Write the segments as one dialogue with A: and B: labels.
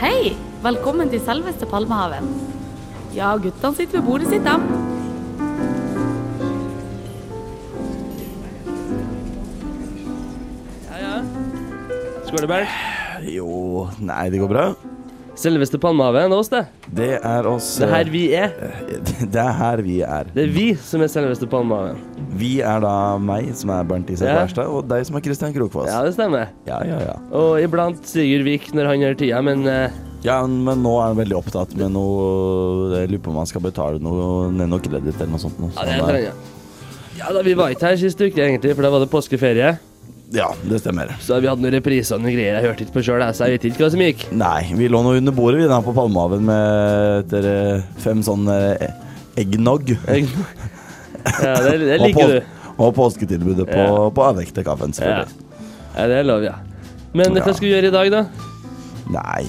A: Hei! Velkommen til selveste Palmehaven. Ja, guttene sitter ved bordet sitt, dem.
B: Skål, Berg.
C: Jo, nei, det går bra.
B: Selveste Palmehaven, det er oss, det.
C: Det er oss eh,
B: Det er her vi er.
C: Det er her vi er.
B: Det er vi som er selveste Palmehaven.
C: Vi er da meg, som er Bernt Isak
B: Ja.
C: Wærstad, og deg som er Kristian Krokfoss.
B: Ja, det stemmer.
C: Ja, ja, ja.
B: Og iblant Sigurd Vik når han har tida, men eh,
C: Ja, men nå er han veldig opptatt med noe Jeg lurer på om han skal betale noe ned noe kreditt eller noe sånt. Noe.
B: ja, det
C: sånn,
B: trenger jeg. Ja da, vi var ikke her sist uke, egentlig, for da var det påskeferie.
C: Sånn, eh, ja, det stemmer.
B: Så vi hadde noen repriser og noen greier. Jeg hørte ikke på sjøl, så jeg vet ikke hva som gikk.
C: Nei, vi lå nå under bordet vi da på Palmehaven med etter eh, fem sånne eh, eggnog.
B: Ja, det, det
C: Og
B: liker
C: pås-
B: du.
C: Og påsketilbudet på,
B: Ja.
C: på avvekte kaffen,
B: Ja.
C: selvfølgelig.
B: ja, det er lov, ja. Men
C: Ja.
B: hva skal vi gjøre i dag, da?
C: Nei,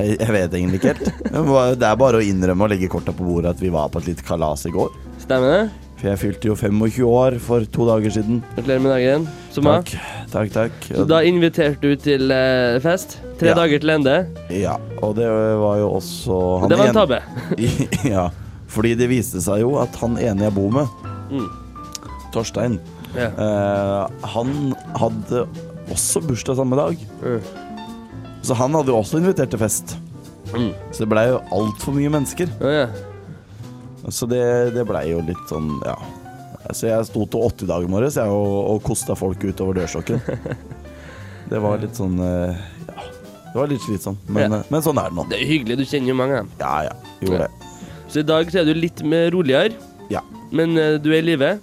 C: jeg, jeg vet egentlig ikke helt. Det var- Det er bare å innrømme og legge korta på bordet at vi var på et lite kalas i går.
B: Stemmer det?
C: For jeg fylte jo 25 år for to dager siden.
B: Gratulerer med dagen. Som
C: Takk, takk. takk.
B: Så da inviterte du til eh, fest. Tre
C: Ja.
B: dager til ende.
C: Ja, og det var jo også han
B: Det var
C: en-
B: en tabbe.
C: ja, fordi det viste seg jo at han ene jeg bor med,
B: Mm.
C: Torstein,
B: Ja.
C: eh, han hadde også bursdag samme dag.
B: Mm.
C: Så han hadde jo også invitert til fest.
B: Mm.
C: Så det blei jo altfor mye mennesker.
B: Å, ja.
C: Så det, det blei jo litt sånn, ja. Så jeg sto til åtte i dag morges jeg, og, og kosta folk utover dørstokken. Det var litt sånn eh, Ja. Det var litt slitsomt, men,
B: Ja.
C: eh, men sånn er det nå.
B: Det er hyggelig, du kjenner jo mange. av dem.
C: Ja ja, gjorde det.
B: Så i dag så er du litt mer roligere,
C: Ja.
B: men eh, du er i live.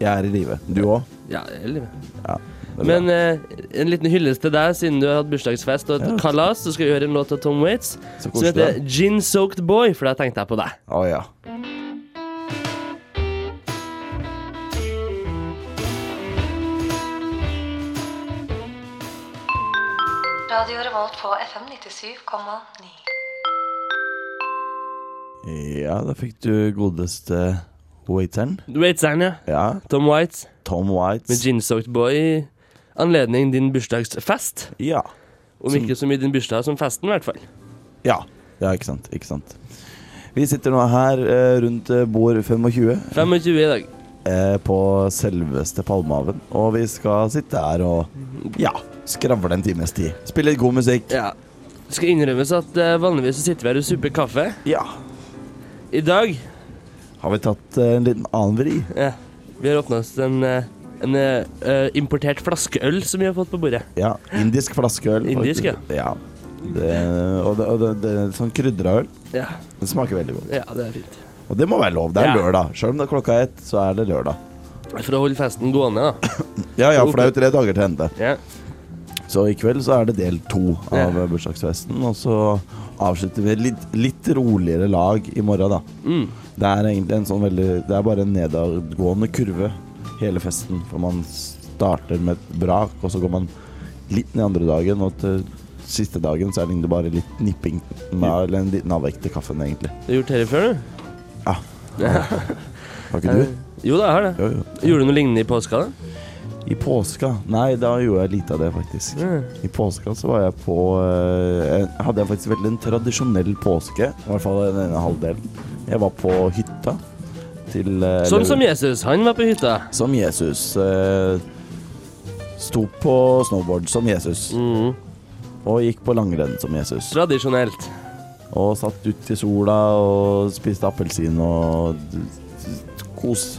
C: Jeg er i live. Du òg?
B: Ja, jeg er i live.
C: Ja. det er bra.
B: Men eh, en liten hyllest til deg, siden du har hatt bursdagsfest og et kalas, så skal vi høre en låt av Tom Waits
C: Så
B: som
C: koselig,
B: heter
C: da.
B: Gin Soaked Boy, for da tenkte jeg på deg.
C: Å ja.
D: Radio Revolt på FM 97,9.
C: Ja, da fikk du godeste waiteren.
B: Waitseren, ja.
C: Ja,
B: Tom Waits
C: Tom
B: med
C: Whites.
B: Gin Soaked Boy i anledning din bursdagsfest.
C: Ja.
B: Om ikke så mye din bursdag som festen, i hvert fall.
C: ja. Ja, ikke sant. Ikke sant. Vi sitter nå her eh, rundt eh, bord 25
B: 25 i dag.
C: eh, på selveste Palmehaven, og vi skal sitte her og ja, skravle en times tid. Spille litt god musikk.
B: Ja. Det skal innrømmes at eh, vanligvis så sitter vi her og supper kaffe.
C: Ja.
B: I dag
C: Har vi tatt eh, en liten annen vri?
B: ja, vi har åpna oss en, eh, en eh, eh, importert flaskeøl som vi har fått på bordet.
C: Ja. Indisk flaskeøl.
B: Indisk,
C: faktisk. ja. Det, og det, og det, det er sånn krydra øl.
B: Ja,
C: Det smaker veldig godt.
B: ja det er fint.
C: Og det må være lov. Det er
B: Ja.
C: lørdag. Sjøl om det er klokka ett, så er det lørdag.
B: For å holde festen gående, da.
C: Ja, ja, for det er jo tre dager til ende.
B: Ja.
C: Så i kveld så er det del to av
B: Ja.
C: bursdagsfesten. Og så avslutter vi litt, litt roligere lag i morgen, da.
B: Mm.
C: Det er egentlig en sånn veldig Det er bare en nedadgående kurve hele festen. For man starter med et brak, og så går man litt ned andre dagen. Og til siste dagen så er det egentlig bare litt nipping. Med, eller en liten avvekt til kaffen, egentlig.
B: Du har gjort dette før, du? Eh,
C: Har ikke du?
B: Jo da, jeg har det.
C: Jo, jo.
B: Gjorde du noe lignende i påska? da?
C: I påska? Nei, da gjorde jeg lite av det, faktisk. I påska så var jeg på eh, en- Hadde jeg faktisk veldig en tradisjonell påske. I hvert fall den ene halvdelen. Jeg var på hytta til eh,
B: Sånn
C: eller-
B: som Jesus, han var på hytta.
C: som Jesus. eh, Sto på snowboard som Jesus,
B: Mm.
C: og gikk på langrenn som Jesus.
B: Tradisjonelt.
C: Og satt ut i sola og spiste appelsin og d- d- kos.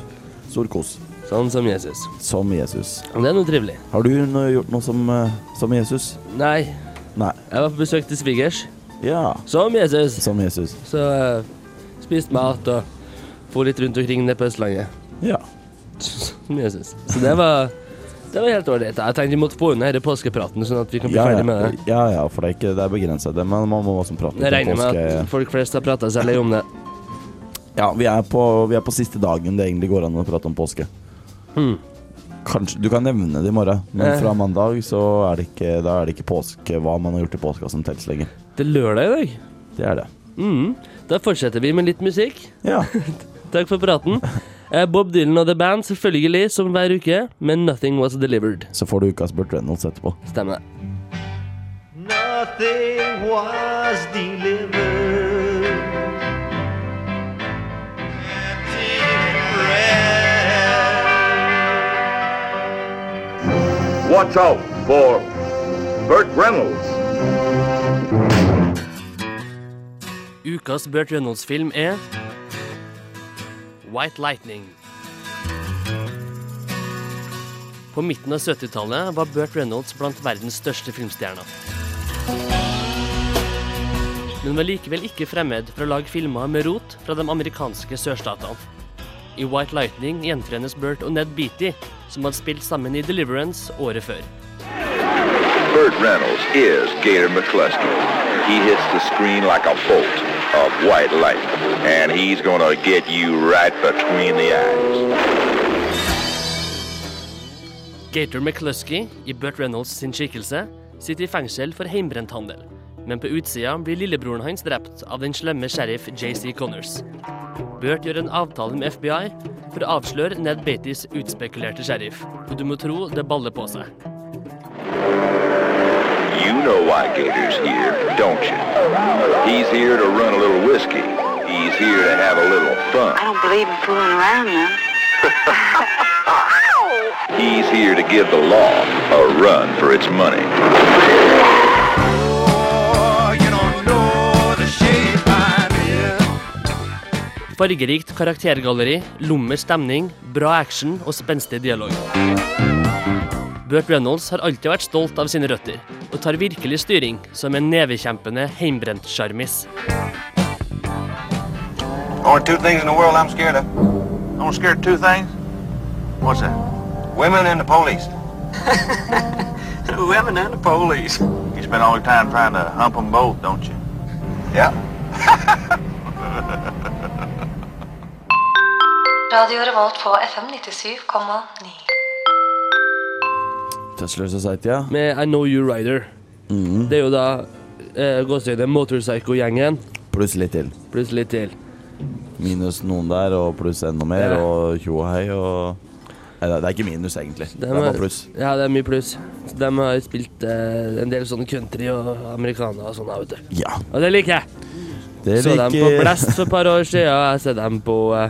C: Stor kos.
B: Sånn som Jesus.
C: Som Jesus.
B: Det er noe trivelig.
C: Har du noe, gjort noe som, eh, som Jesus?
B: Nei,
C: Nei.
B: jeg var på besøk til svigers.
C: Ja.
B: Som Jesus.
C: Som Jesus.
B: Så eh, spiste mat og for litt rundt omkring nede på Østlandet.
C: Ja.
B: Som Jesus. Så det var, det var helt ålreit. Jeg tenkte vi måtte få unna denne påskepraten, sånn at vi kan bli
C: Ja,
B: ferdig med
C: ja,
B: det.
C: ja, ja, for det er, ikke, det er begrenset, det, men man må også prate
B: Jeg
C: litt om
B: regner med
C: påske.
B: at folk flest har prata seg lei om det.
C: Ja, vi er, på, vi er på siste dagen det egentlig går an å prate om påske.
B: Hmm.
C: Kanskje, du kan nevne det i morgen, men
B: Eh.
C: fra mandag så er det ikke, da er det ikke påske, hva man har gjort i påska som telles lenger.
B: Det er lørdag i dag.
C: Det er det.
B: Mm. Da fortsetter vi med litt musikk.
C: Ja.
B: Takk for praten. Eh, Bob Dylan og The Band selvfølgelig, som hver uke, men Nothing Was Delivered.
C: Så får du ukas Burt Reynolds etterpå.
B: Stemmer det.
E: Nothing was delivered. Empty bread.
F: Watch out for Burt Reynolds.
B: Ukas Burt Reynolds-film er White Lightning. På midten av 70-tallet var Burt Reynolds blant verdens største filmstjerner. Men var likevel ikke fremmed for å lage filmer med rot fra de amerikanske sørstatene. I White Lightning gjenforenes Burt og Ned Beatty, som hadde spilt sammen i Deliverance året før.
F: Burt Reynolds is Gator McCluskey. He hits the screen like a bolt of white light, and he's gonna get you right between the eyes.
B: Gator McCluskey, i Burt Reynolds sin skikkelse, sitter i fengsel for heimbrent handel. Men på utsida blir lillebroren hans drept av den slemme sheriff JC Connors. Burt gjør en avtale med FBI for å avsløre Ned Beattys utspekulerte sheriff. Og du må tro det baller på seg.
F: You know why Gator's here, don't you? He's here to run a little whiskey. He's here to have a little fun.
G: I don't believe in fooling around now.
F: He's here to give the law a run for its money.
E: Oh, you don't know the shape I'm in.
B: Fargerikt karaktergalleri, lummer stemning, bra action og spenstig dialog. Burt Reynolds har alltid vært stolt av sine røtter, og tar virkelig styring som en nevekjempende heimbrent-sjarmis.
H: Only two things in the world I'm scared of. I'm scared of two things. What's that? Women and the police. Women and the police. You spend all your time trying to hump them both, don't you? Yeah.
D: Radio Revolt på FM 97,9.
C: Tussler Society, ja.
B: med I Know You Rider.
C: Mm.
B: Det er jo da eh, gåsehøyde Motorpsycho-gjengen
C: Pluss litt til.
B: pluss litt til.
C: Minus noen der, og pluss enda mer,
B: Ja.
C: og tjo og hei, og Nei, det er ikke minus, egentlig. Det er
B: har-
C: bare pluss.
B: Ja, det er mye pluss. Så De har spilt eh, en del sånne country og americana og sånn, da, vet du.
C: Ja.
B: Og det liker jeg.
C: Det
B: Så dem på Blest for et par år siden, og jeg ser dem på eh,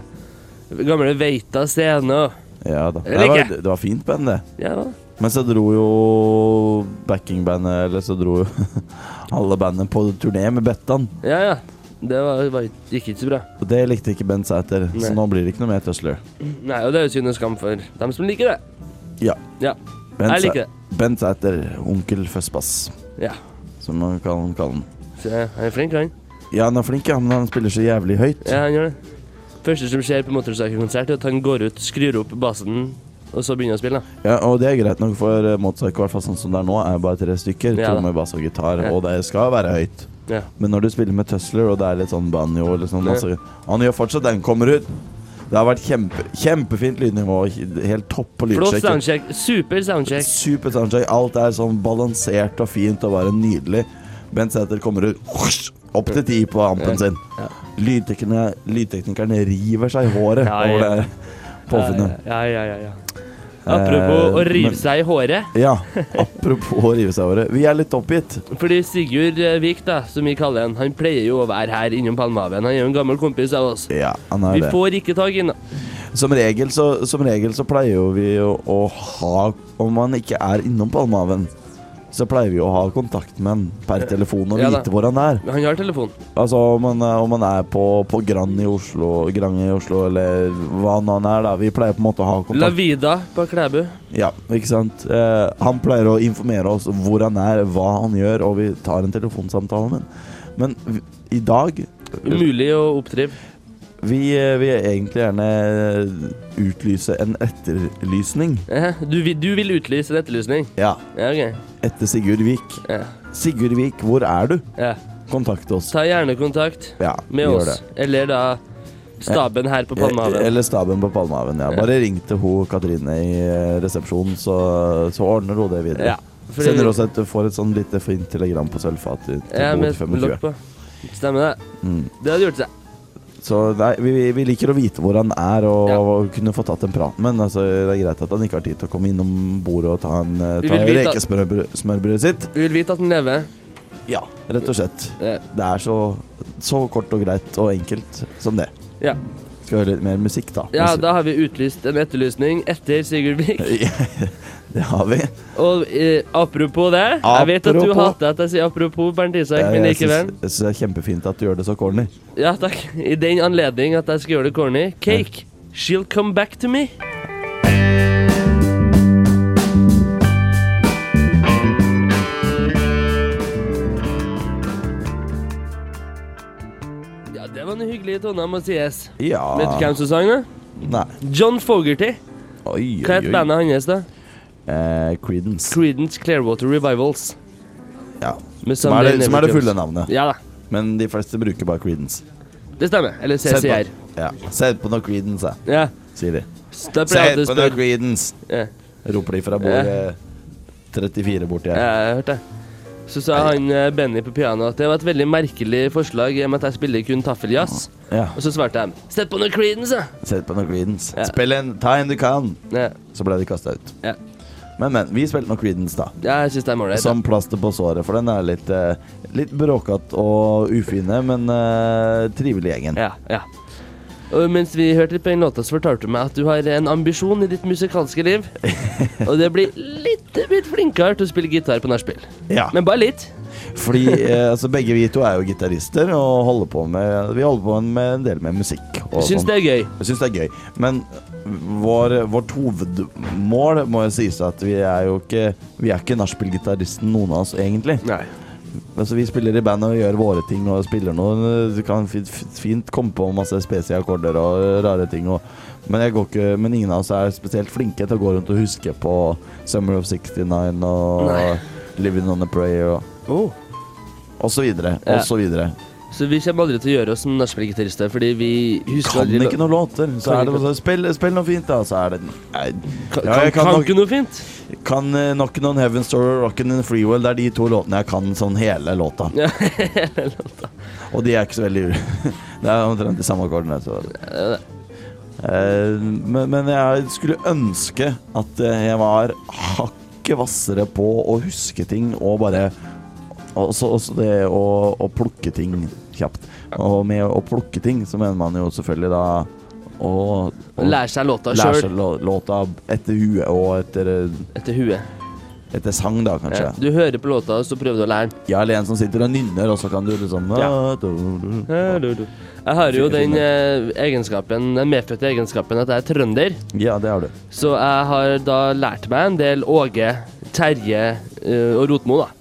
B: gamle Veita scene. og-
C: Ja da.
B: Det
C: Det var,
B: liker jeg.
C: det var fint band, det.
B: Ja,
C: Men så dro jo backingbandet Eller så dro jo alle bandene på turné med Bettan.
B: ja. ja. Det var, var, gikk ikke så bra.
C: Og det likte ikke Bent Sæter, så
B: Nei.
C: nå blir det ikke noe mer Tussler.
B: Nei, og det er jo synd og skam for dem som liker det.
C: Ja.
B: Ja.
C: Bent
B: Jeg liker
C: Sæ- Bent Sæter, onkel Føssbass,
B: ja.
C: som man kan kalle han.
B: Så han er flink, han.
C: Ja, han er flink, ja, men han spiller så jævlig høyt.
B: Ja, han gjør det. Første som skjer på Motorpsycho-konsert, er at han går ut, skrur opp basen, og så begynner han å spille. da.
C: Ja, og det er greit nok, for eh, Mozart, i hvert fall sånn som det er nå, er bare tre stykker.
B: Ja da.
C: Tromme, bass og gitar,
B: Ja.
C: og det skal være høyt.
B: Ja.
C: Men når du spiller med Tussler, og det er litt sånn banjo eller sånn, altså, Han gjør fortsatt den kommer ut. Det har vært kjempe, kjempefint lydnivå. Helt topp på
B: Flott
C: lydsjekk.
B: soundcheck. Super soundcheck.
C: Super soundcheck. Alt er sånn balansert og fint og bare nydelig. Bent Sæther kommer ut husj, opp til ti på ampen sin.
B: Ja.
C: Lydteknikerne, lydteknikerne river seg i håret
B: Ja, ja.
C: over det her påfunnet.
B: Ja, ja, ja, ja. Apropos å
C: Eh,
B: rive
C: men-
B: seg i håret.
C: Ja, apropos å rive seg i håret. Vi er litt oppgitt.
B: Fordi Sigurd eh, Vik, da, som vi kaller han, han pleier jo å være her innom Palmehaven. Han er jo en gammel kompis av oss.
C: Ja, han er
B: Vi
C: det.
B: får ikke tak i han.
C: Som regel, så, som regel så pleier jo vi å, å ha Om man ikke er innom Palmehaven, så pleier vi å ha kontakt med han per telefon og
B: Ja da.
C: vite hvor han er.
B: Han har telefon.
C: Altså om han, er- om han er på, på Grand i Oslo, Grand i Oslo eller hva nå han er, da. Vi pleier på en måte å ha
B: La
C: kontakt.
B: Vida på Klæbu.
C: Ja, ikke sant? Eh, han pleier å informere oss hvor han er, hva han gjør, og vi tar en telefonsamtale med han. Men vi- i dag
B: Umulig å oppdrive.
C: vi eh, vil egentlig gjerne eh, utlyse en etterlysning.
B: Eh, Du, vil- du vil utlyse en etterlysning?
C: Ja.
B: Ja, OK.
C: etter Sigurd Vik.
B: Ja.
C: Sigurd Vik, hvor er du?
B: ja.
C: Kontakt oss.
B: Ta gjerne kontakt.
C: Ja,
B: med
C: gjør
B: oss. Eller da staben her på Palmehaven.
C: Eh, Eller staben på Palmehaven. Ja. Bare ring til ho Katrine i eh, resepsjonen, så, så ordner hun det videre.
B: Ja, fordi-
C: Sender oss et, får et sånn lite fint telegram på sølvfat til
B: Ja, med
C: 25.
B: lokk på. Stemmer det.
C: Mm.
B: Det hadde gjort seg.
C: Så nei, vi, vi- vi liker å vite hvor han er, og,
B: Ja.
C: og kunne få tatt en prat med ham. Altså, det er greit at han ikke har tid til å komme innom bordet og ta, en, eh,
B: Vi
C: ta
B: vil vite at-
C: rekesmørbrødet sitt.
B: Vi vil vite at den lever.
C: Ja, rett og slett.
B: Eh,
C: Det er så, så kort og greit og enkelt som det.
B: Ja.
C: Skal høre litt mer musikk, da.
B: ja, da har vi utlyst en etterlysning etter Sigurd Vik.
C: Det har vi.
B: Og eh, apropos det, jeg vet at du
C: Apropos.
B: hater at jeg sier apropos Bernt Isak, men
C: Jeg, jeg,
B: likevel.
C: syns, jeg syns det er kjempefint at du gjør det så corny.
B: Ja, takk. I den anledning at jeg skal gjøre det corny. Cake, she'll come back to me. Ja, det var noen hyggelige toner, må sies.
C: Ja
B: Vet du hvem som sang det?
C: Nei.
B: John Fogerty.
C: Oi,
B: Hva het bandet hans, da?
C: Eh, Creedence.
B: Creedence Clearwater Revivals.
C: Ja.
B: Med
C: Som er,
B: Sunday
C: det, som er det
B: Never
C: fulle
B: Comes.
C: navnet.
B: Ja da.
C: Men de fleste bruker bare Creedence.
B: Det stemmer. Eller CCR.
C: på, ja. Sett på noe Creedence, jeg,
B: Ja.
C: sier de.
B: Så Da pleier jeg alltid
C: Sett
B: å
C: på noe
B: spørre
C: Creedence,
B: Ja.
C: roper de fra bordet 34 borti
B: Ja,
C: her.
B: jeg hørte det. Så sa han eh, Benny på pianoet at det var et veldig merkelig forslag i og med at jeg spiller kun taffeljazz.
C: Ja.
B: Og så svarte jeg Sett på noe Creedence, da!
C: Sett på noe Creedence.
B: Ja.
C: Spill en time du kan!
B: Ja,
C: Så ble de kasta ut.
B: ja.
C: Men, men. Vi spilte noe Creedence, da.
B: ja jeg syns det er målrett.
C: Som plaster på såret, for den er litt, eh, litt bråkete og ufine, men eh, trivelig gjengen.
B: Ja, ja. Og mens vi hørte litt på den låta, så fortalte du meg at du har en ambisjon i ditt musikalske liv. Og det blir litt blitt flinkere til å spille gitar på nachspiel.
C: Ja.
B: Men bare litt.
C: Fordi eh, altså, begge vi to er jo gitarister, og holder på med, vi holder på med en del med musikk. Og
B: Jeg syns
C: sånn.
B: det er gøy.
C: Jeg syns det er gøy. Men vår, vårt hovedmål må jo sies at vi er jo ikke Vi er ikke nachspielgitaristen, noen av oss, egentlig.
B: Nei.
C: Altså, vi spiller i band og gjør våre ting og spiller noe. Du kan fint, fint komme på masse spesielle akkorder og rare ting. Og, men, jeg går ikke, men ingen av oss er spesielt flinke til å gå rundt og huske på Summer of 69 og
B: Nei. Oh.
C: Living on a Prayer og, og så videre.
B: Ja.
C: Og så videre.
B: Så vi kommer aldri til å gjøre oss som nachspielgitarister, fordi vi husker
C: Kan
B: aldri
C: ikke noen låter. Så
B: Kan
C: er
B: ikke-
C: det bare sånn Spill, spill noe fint, da. Så er det Nei.
B: Kan,
C: Ja,
B: kan,
C: jeg kan
B: kan
C: nok-
B: ikke noe fint.
C: Kan eh, Knockin' on Heaven's Door og Rockin' in the Free World. Det er de to låtene jeg kan sånn hele låta.
B: Ja,
C: Og de er ikke så veldig Det er omtrent de samme akkordene. Så. Eh, Men, men jeg skulle ønske at eh, jeg var hakket hvassere på å huske ting og bare Også, også det å, å plukke ting kjapt. Og med å plukke ting så mener man jo selvfølgelig da å, å
B: Lære seg låta
C: lære seg
B: sjøl
C: lå- låta etter huet og etter,
B: etter huet.
C: etter sang, da, kanskje.
B: Ja. Du hører på låta, og så prøver du å lære den.
C: Ja, eller en som sitter og nynner, og så kan du liksom
B: Ja. Jeg har jo
C: Fin- fin
B: den eh, egenskapen, den medfødte egenskapen at jeg er trønder.
C: Ja, det har du.
B: Så jeg har da lært meg en del Åge, Terje eh, og Rotmo, da.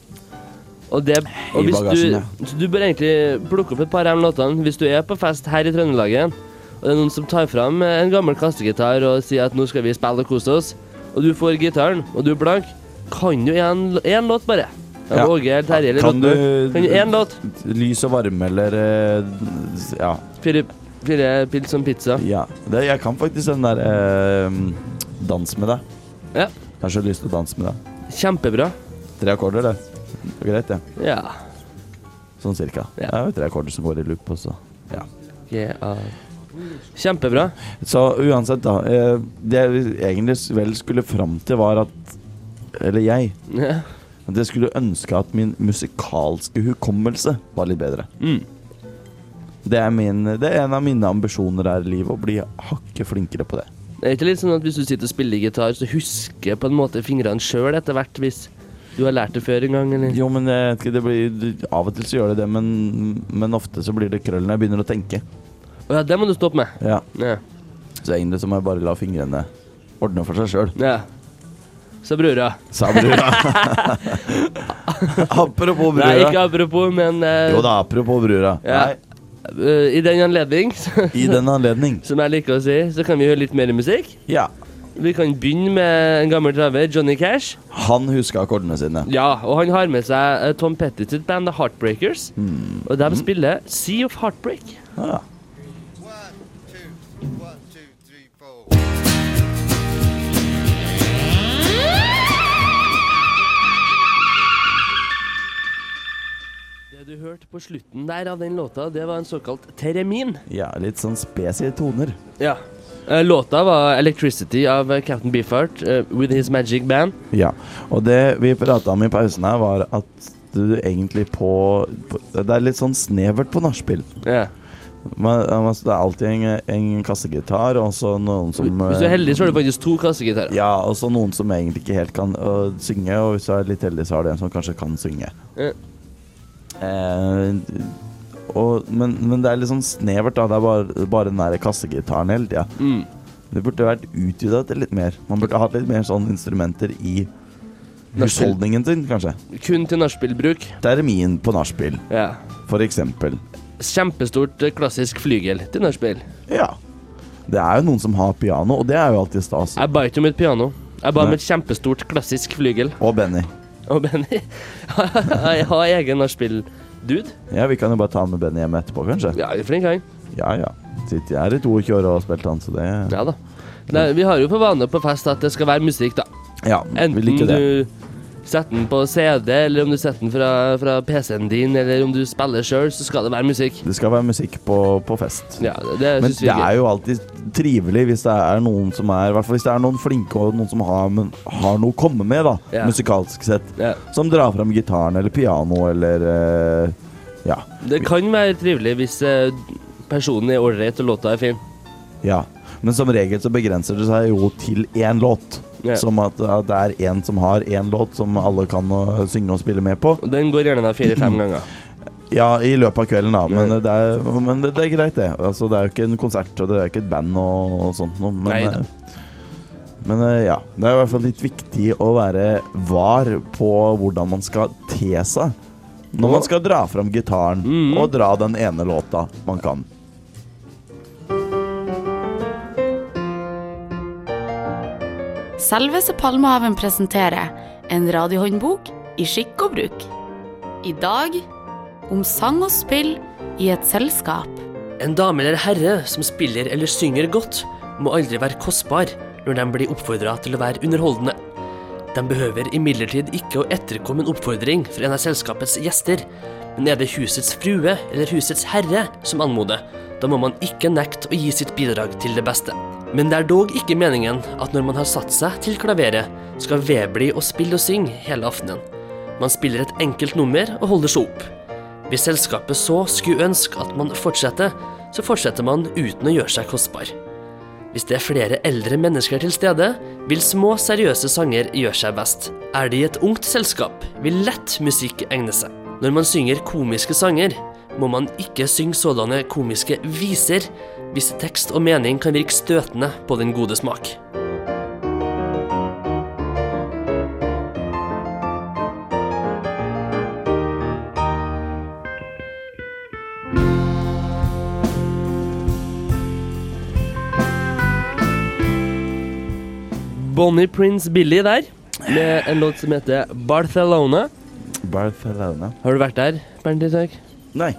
B: Og det og
C: I
B: hvis
C: bagasjen,
B: du,
C: ja.
B: så du bør egentlig plukke opp et par av de låtene hvis du er på fest her i Trøndelagen, og det er noen som tar fram eh, en gammel kassegitar og sier at nå skal vi spille og kose oss, og du får gitaren, og du er blank, kan du en, en låt bare. Ja.
C: Ja.
B: Åge eller Terje eller
C: Kan
B: Rotmo.
C: du-
B: Kan du én låt?
C: Lys og varme, eller eh, Ja.
B: Fire, fire pils som pizza.
C: ja. Det, jeg kan faktisk den der eh, Dans med deg.
B: Ja,
C: Jeg har så lyst til å danse med deg.
B: kjempebra. det
C: Tre akkorder, det. det er greit, det.
B: Ja.
C: Sånn cirka.
B: Ja.
C: Det er jo tre akkorder som går i loop også. Ja.
B: ja. Kjempebra.
C: Så uansett, da. eh, Det jeg egentlig vel skulle fram til, var at Eller jeg.
B: Ja.
C: At jeg skulle ønske at min musikalske hukommelse var litt bedre. Det, er min, det er en av mine ambisjoner her i livet, å bli hakket flinkere på det.
B: Det er ikke litt sånn at hvis du sitter og spiller gitar, så husker på en måte fingrene sjøl etter hvert, hvis du har lært det før en gang, eller?
C: Jo, men jeg vet ikke, det blir, Av og til så gjør det det, men, men ofte så blir det krøll når jeg begynner å tenke.
B: Å ja, det må du stoppe med.
C: Ja,
B: Ja.
C: Så egentlig så må jeg bare la fingrene ordne for seg sjøl.
B: ja. Så brura.
C: Sa brura. apropos
B: Nei, ikke
C: brura.
B: apropos, men eh,
C: Jo da, apropos brura.
B: Ja.
C: Nei,
B: eh, i den anledning,
C: I den anledning.
B: som jeg liker å si, så kan vi høre litt mer musikk.
C: Ja.
B: Vi kan begynne med en gammel traver, Johnny Cash.
C: Han huska akkordene sine.
B: Ja, og han har med seg eh, Tom Petty sitt band The Heartbreakers.
C: Hmm.
B: Og de spiller Sea of Heartbreak.
C: Ja.
B: Det du hørte hørte på slutten der av den låta, det var en såkalt teremin.
C: Ja, litt sånn spesielle toner.
B: Ja. Eh, Låta var 'Electricity' av eh, Captain Beefheart eh, with his magic band.
C: Ja, og det vi prata om i pausen her, var at du egentlig på, på Det er litt sånn snevert på nachspiel.
B: Ja.
C: Man- man- Det er alltid en, en kassegitar, og så noen som eh,
B: Hvis du er heldig, så har du faktisk to kassegitarer.
C: Ja, og så noen som egentlig ikke helt kan øh, synge, og hvis du er litt heldig, så har du en som kanskje kan synge.
B: Ja.
C: Eh, og, men, men det er litt sånn snevert, da. Det er bare, bare den der kassegitaren hele tida.
B: Mm.
C: Det burde vært utvidet til litt mer. Man burde hatt litt mer sånne instrumenter i husholdningen sin, kanskje.
B: Kun til nachspielbruk.
C: Termin på nachspiel,
B: Ja.
C: for eksempel.
B: Kjempestort eh, klassisk flygel til nachspiel.
C: Ja. Det er jo noen som har piano, og det er jo alltid stas.
B: Jeg ba ikke om et piano. Jeg ba om
C: Nei.
B: et kjempestort klassisk flygel.
C: Og Benny.
B: Og Benny Jeg har egen nachspiel-dude.
C: Ja, vi kan jo bare ta med Benny hjem etterpå, kanskje.
B: Ja, flink han.
C: Ja ja. Sitter jeg her i 22 år og har spilt han, så det
B: Ja da. Nei, vi har jo for vane på fest at det skal være musikk, da.
C: Ja, vi
B: Enten
C: liker det.
B: du setter den på CD, eller om du setter den fra, fra PC-en din, eller om du spiller sjøl, så skal det være musikk.
C: Det skal være musikk på, på fest.
B: Ja, det, det
C: Men
B: syns vi
C: det
B: er
C: er
B: gøy.
C: jo alltid trivelig hvis det er noen som er i hvert fall hvis det er noen flinke og noen som har, men, har noe å komme med, da,
B: Ja.
C: musikalsk sett.
B: Ja.
C: Som drar fram gitaren eller piano eller eh, Ja.
B: Det kan være trivelig hvis eh, personen er ålreit og låta er fin.
C: ja. Men som regel så begrenser det seg jo til én låt.
B: Ja.
C: Som at, at det er én som har én låt som alle kan å synge og spille med på.
B: Og den går gjerne da fire-fem ganger.
C: Ja, i løpet av kvelden, da. Men, det, er, men det, det er greit, det. Altså, det er jo ikke en konsert, og det er ikke et band og, og sånt noe. Men,
B: Neida.
C: eh, men eh, ja. Det er i hvert fall litt viktig å være var på hvordan man skal te seg. Når man skal dra fram gitaren og dra den ene låta man kan.
A: Selveste Palmehaven presenterer en radiohåndbok i skikk og bruk. I dag om sang og spill i et selskap.
B: En dame eller herre som spiller eller synger godt, må aldri være kostbar når de blir oppfordra til å være underholdende. De behøver imidlertid ikke å etterkomme en oppfordring fra en av selskapets gjester, men er det husets frue eller husets herre som anmoder, da må man ikke nekte å gi sitt bidrag til det beste. Men det er dog ikke meningen at når man har satt seg til klaveret, skal vedbli å spille og synge hele aftenen. Man spiller et enkelt nummer og holder seg opp. Hvis selskapet så skulle ønske at man fortsetter, så fortsetter man uten å gjøre seg kostbar. Hvis det er flere eldre mennesker til stede, vil små, seriøse sanger gjøre seg best. Er det i et ungt selskap, vil lett musikk egne seg. Når man synger komiske sanger, må man ikke synge sådanne komiske viser, hvis tekst og mening kan virke støtende på den gode smak. Bonnie Prince Billy der, med en låt som heter Barcelona.
C: Barcelona.
B: Har du vært der, Bernt Isak?
C: Nei,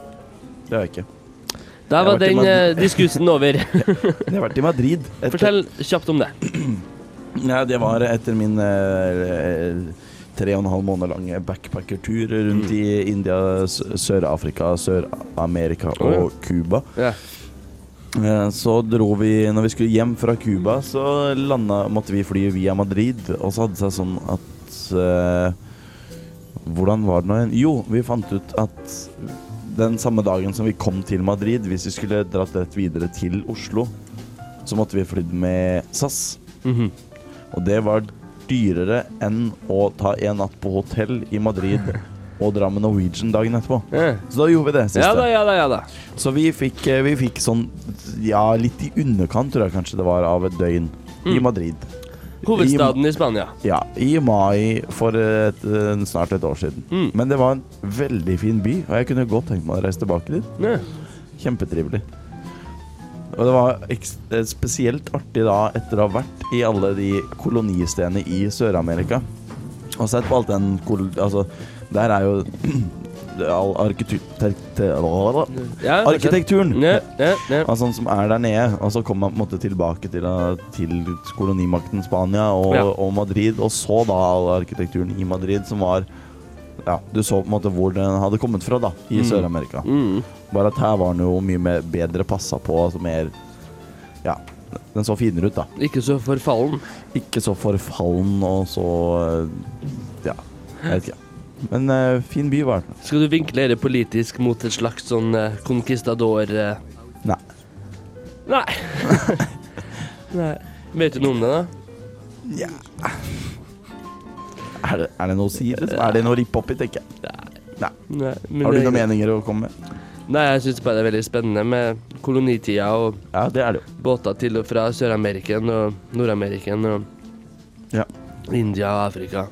C: det har jeg ikke.
B: Da
C: Jeg
B: var
C: har vært i
B: den eh,
C: Madrid.
B: diskursen over.
C: Jeg har vært i Madrid. Etter,
B: Fortell kjapt om det.
C: Ja, det var etter min eh, tre og en halv måned lange backpackertur rundt
B: Mm.
C: i India, S- Sør-Afrika, Sør-Amerika
B: Å, ja.
C: og Cuba.
B: Ja.
C: Eh, Så dro vi Når vi skulle hjem fra Cuba, så landa, måtte vi fly via Madrid. Og så hadde det seg sånn at eh, Hvordan var det nå igjen? Jo, vi fant ut at den samme dagen som vi kom til Madrid, hvis vi skulle dratt rett videre til Oslo, så måtte vi flydd med SAS.
B: Mhm.
C: Og det var dyrere enn å ta en natt på hotell i Madrid og dra med Norwegian dagen etterpå.
B: Ja.
C: Så da gjorde vi det siste.
B: ja da, ja da, ja da.
C: Så vi fikk, eh, vi fikk sånn Ja, litt i underkant, tror jeg kanskje det var, av et døgn
B: Mm.
C: i Madrid.
B: Hovedstaden i Spania.
C: Ja, I mai for et, eh, snart et år siden.
B: Mm.
C: Men det var en veldig fin by, og jeg kunne godt tenkt meg å reise tilbake dit.
B: Ja.
C: Kjempetrivelig. Og det var eks- eh, spesielt artig da, etter å ha vært i alle de kolonistedene i Sør-Amerika. Og sett på alt den kol... Altså, der er jo all arkitektur...
B: Ja,
C: Arkitekturen!
B: Ja, ja, ja.
C: Ja, sånn som er der nede, og så kommer man på en måte tilbake til, eh, til kolonimakten Spania og,
B: Ja.
C: og Madrid, og så da all arkitekturen i Madrid, som var ja, du så på en måte hvor den hadde kommet fra da, i Sør-Amerika. Bare at her var den jo mye mer, bedre passa på, altså mer Ja, den så finere ut, da.
B: Ikke så forfallen.
C: Ikke så forfallen og så eh, Ja, jeg vet ikke. Men eh, fin by var den.
B: Skal du vinkle dette politisk mot et slags sånn eh, conquistador eh?
C: Nei.
B: Nei. Nei. Vet du noe om det, da?
C: Er det, er det noe å si? Liksom? Er det noe å rippe opp i, tenker jeg. Nei.
B: Nei, men
C: Har du
B: det-
C: noen meninger å komme med?
B: Nei, jeg syns bare det er veldig spennende med kolonitida og
C: Ja, det er det jo.
B: båter til og fra Sør-Ameriken og Nord-Ameriken og
C: Ja.
B: India og Afrika.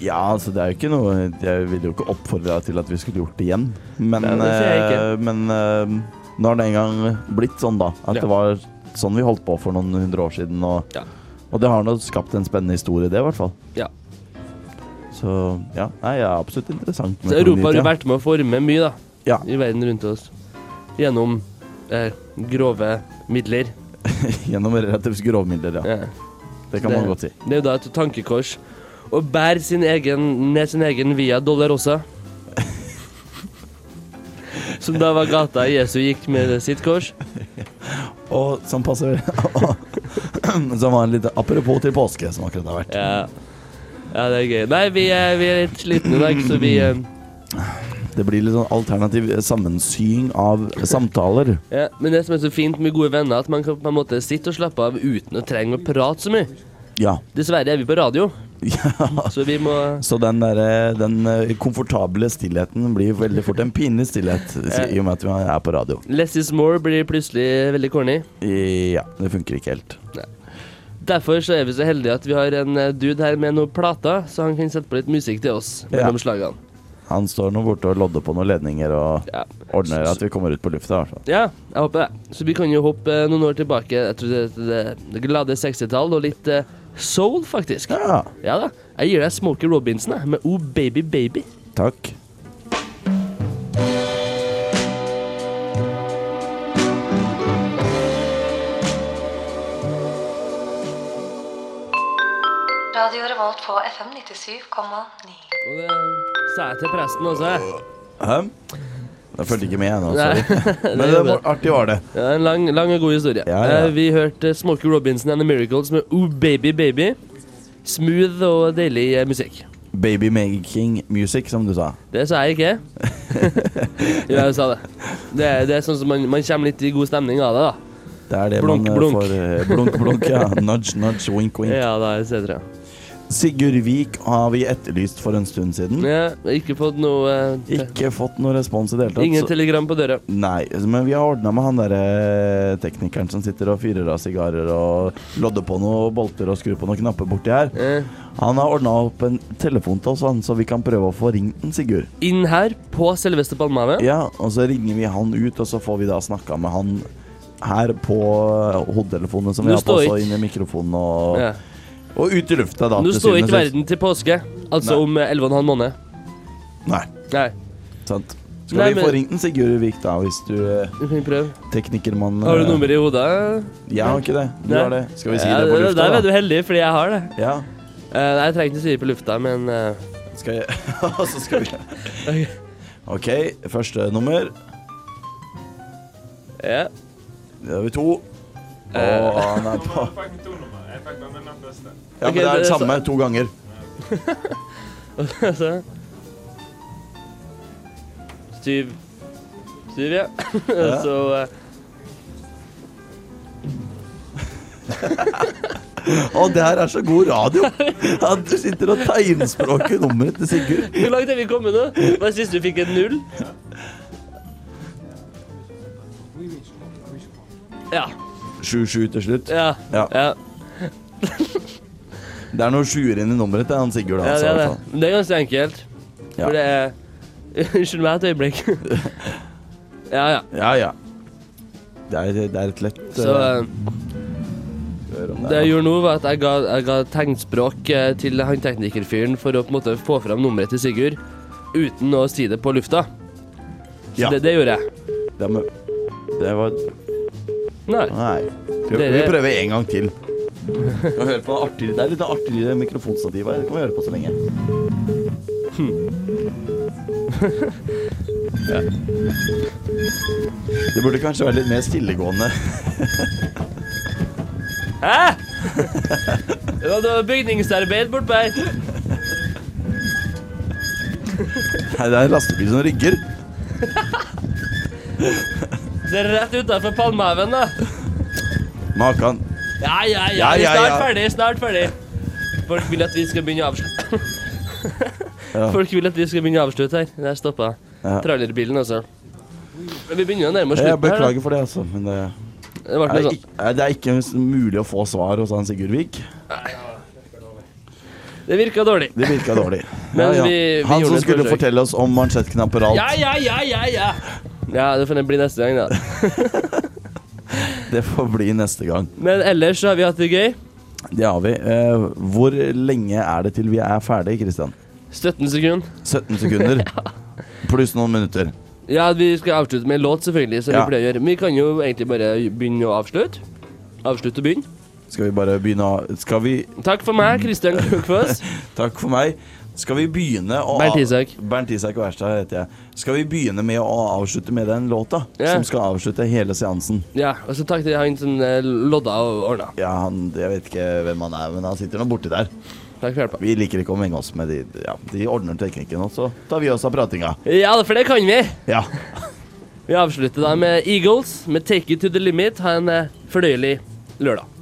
C: Ja, altså det er jo ikke noe Jeg ville jo ikke oppfordra til at vi skulle gjort det igjen. Men,
B: Nei, det sier jeg ikke.
C: eh, men eh, nå har det en gang blitt sånn, da. At
B: Ja.
C: det var sånn vi holdt på for noen hundre år siden. Og,
B: Ja.
C: og det har nå skapt en spennende historie, det, i hvert fall.
B: ja.
C: Så ja, nei, ja, absolutt interessant. med
B: Så Europa har jo
C: kolonitida.
B: vært med å forme mye, da,
C: Ja.
B: i verden rundt oss. Gjennom eh, grove midler.
C: Gjennom relativt grovmidler, ja.
B: Ja.
C: Det kan man godt si.
B: Det er jo da et tankekors. Å bære sin egen, ned sin egen via Dolorosa. Som da var gata Jesu gikk med sitt kors.
C: Og som passer Som var en liten apropos til påske, som akkurat har vært.
B: Ja. ja, det er gøy. Nei, vi er, vi er litt slitne i dag, så vi eh,
C: Det blir litt sånn alternativ sammensying av samtaler.
B: ja. Men det som er så fint med gode venner, at man kan på en måte sitte og slappe av uten å trenge å prate så mye.
C: Ja.
B: Dessverre er vi på radio,
C: ja.
B: så vi må
C: Så den, der, den eh, komfortable stillheten blir veldig fort en pinlig stillhet, si- i og med at vi er på radio.
B: Less is more blir plutselig veldig corny.
C: Ja, det funker ikke helt.
B: Derfor så er vi så heldige at vi har en eh, dude her med noen plater, så han kan sette på litt musikk til oss mellom slagene.
C: Han står nå borte og lodder på noen ledninger og
B: Ja.
C: ordner at vi kommer ut på lufta. i hvert fall.
B: Ja, jeg håper det. Så vi kan jo hoppe eh, noen år tilbake. Jeg tror det, det, det glade 60-tall og litt eh, soul, faktisk.
C: Ja,
B: Ja da. Jeg gir deg Smokey Robinson jeg, med Oh Baby Baby.
C: takk.
D: Radio Revolt på FM 97,9.
B: Og det sa jeg til presten også. jeg.
C: Hæ? Jeg fulgte ikke med jeg nå,
B: Nei,
C: sorry. Men det
B: gjorde
C: var
B: det.
C: artig var det.
B: Ja, en lang, lang og god historie.
C: Ja, ja.
B: Eh, Vi hørte Smokey Robinson and the Miracles med Oh Baby Baby. Smooth og deilig eh, musikk.
C: Babymaking music, som du sa.
B: Det sa jeg ikke. jo, jeg sa det. Det, er- det er sånn som man, man kommer litt i god stemning av det, da.
C: Det er det
B: Blunk,
C: man eh,
B: blunk.
C: får eh, Blunk, blunk. ja. Nudge, nudge, wink, wink.
B: Ja, da, et cetera.
C: Sigurd Vik har vi etterlyst for en stund siden.
B: Ja, ikke fått noe eh, te-
C: Ikke fått noen respons i det hele tatt.
B: Ingen
C: så-
B: telegram på døra.
C: Nei, altså, men vi har ordna med han derre teknikeren som sitter og fyrer av sigarer og lodder på noen bolter og skrur på noen knapper borti her.
B: Eh,
C: Han har ordna opp en telefon til oss, han, så vi kan prøve å få ringt den, Sigurd.
B: inn her på selveste Palmehavet.
C: Ja, og så ringer vi han ut, og så får vi da snakka med han her på hodetelefonene som vi
B: Nå
C: har på
B: står
C: oss, og
B: ikke-
C: inn i mikrofonen og,
B: Ja.
C: og ut i lufta, da.
B: Nå
C: til
B: står
C: syvende
B: ikke
C: og sist.
B: verden til påske, altså
C: Nei.
B: om eh, 11 og en halv måned.
C: Nei,
B: Nei,
C: sant. Skal
B: Nei,
C: vi få
B: men-
C: ringt den, Sigurd Vik, da, hvis du eh,
B: vi kan prøve.
C: Teknikermann
B: Har du
C: eh,
B: nummeret i hodet?
C: Jeg har ikke det. Du
B: Nei.
C: har det. Skal vi si
B: Ja,
C: det på lufta,
B: Der er du
C: da?
B: heldig, fordi jeg har det.
C: Ja.
B: Eh, nei, jeg trenger ikke si det på lufta, men eh,
C: Skal jeg Og så skal vi OK, første nummer.
B: ja.
C: Da har vi to. Og han er på Ja,
B: Ok,
C: men det er
B: det
C: det
B: er så-
C: samme to ganger.
B: Så. Syv. Syv, ja. Så eh,
C: Å, det her er så god radio! At du sitter og tegnspråker nummeret til Sigurd.
B: Hvor langt er vi kommet nå? Hva syns du fikk en null? Ja.
C: 7-7 til slutt.
B: Ja.
C: Ja.
B: ja.
C: Det er noen sjuer inn i nummeret til han Sigurd.
B: Ja, det er
C: Altså, i
B: det.
C: hvert fall.
B: Men Det er ganske enkelt.
C: Ja.
B: For det er Unnskyld meg et øyeblikk. ja, ja.
C: ja, ja. Det er, det er et lett
B: Så
C: eh,
B: eh,
C: hør om
B: det
C: er
B: jeg
C: noe.
B: gjorde nå, var at jeg ga, jeg ga tegnspråk eh, til han teknikerfyren for å på en måte få fram nummeret til Sigurd uten å si det på lufta. Så
C: Ja.
B: det, det gjorde jeg.
C: Det, er med- det var
B: Nei.
C: Nei. Skal vi-
B: Dere-
C: vi prøver en gang til? Kan vi høre på artigere- Det er litt artigere mikrofonstativ her. Det kan vi høre på så lenge. Det burde kanskje være litt mer stillegående.
B: Hæ? Det var noe bygningsarbeid bortpå her.
C: Nei, det er en lastebil som rygger.
B: Det er rett utafor Palmehaven, da.
C: Makan.
B: Ja, ja, ja.
C: Ja,
B: Vi er
C: ja,
B: snart
C: ja.
B: ferdig, snart ferdig. Folk vil at vi skal begynne å avslutte.
C: Ja.
B: Folk vil at vi skal begynne å avslutte her. Der stoppa
C: Ja.
B: trailerbilen, altså. Men vi begynner å nærme oss
C: Jeg
B: slutten. her, da.
C: beklager for det, altså. Men det
B: Det ble
C: er,
B: noe sånn.
C: ikk- nei, det er ikke mulig å få svar hos han Sigurd Vik.
B: Det virka dårlig.
C: Det virka dårlig.
B: Men vi- vi
C: Han
B: gjorde
C: som
B: et
C: skulle
B: forsøk.
C: fortelle oss om mansjettknapper og
B: Ja,
C: alt.
B: ja, ja, ja, ja. Ja, det får bli neste gang, da.
C: Det får bli neste gang.
B: Men ellers så har vi hatt det gøy.
C: Det har vi. Eh, Hvor lenge er det til vi er ferdig, Kristian?
B: 17 sekunder.
C: 17 sekunder. Pluss noen minutter.
B: Ja, vi skal avslutte med en låt, selvfølgelig, som
C: Ja.
B: vi pleier å gjøre. Men vi kan jo egentlig bare begynne å avslutte. Avslutte og begynne.
C: Skal vi bare begynne å Skal vi
B: Takk for meg, Kristian Krokfoss.
C: Takk for meg. Skal vi begynne å
B: Bernt Isak.
C: Bernt Isak Wærstad heter jeg. Skal vi begynne med å avslutte med den låta?
B: Ja.
C: Som skal avslutte hele seansen.
B: Ja, og så takk til han som eh, lodda og ordna.
C: Ja, han, Jeg vet ikke hvem han er, men han sitter nå borti der.
B: Takk for hjelpa.
C: Vi liker ikke å menge oss med de. Ja, de ordner teknikken, og så tar vi oss av pratinga.
B: Ja, for det kan vi.
C: Ja.
B: Vi avslutter da med Eagles med 'Take It To The Limit'. Ha en eh, fornøyelig lørdag.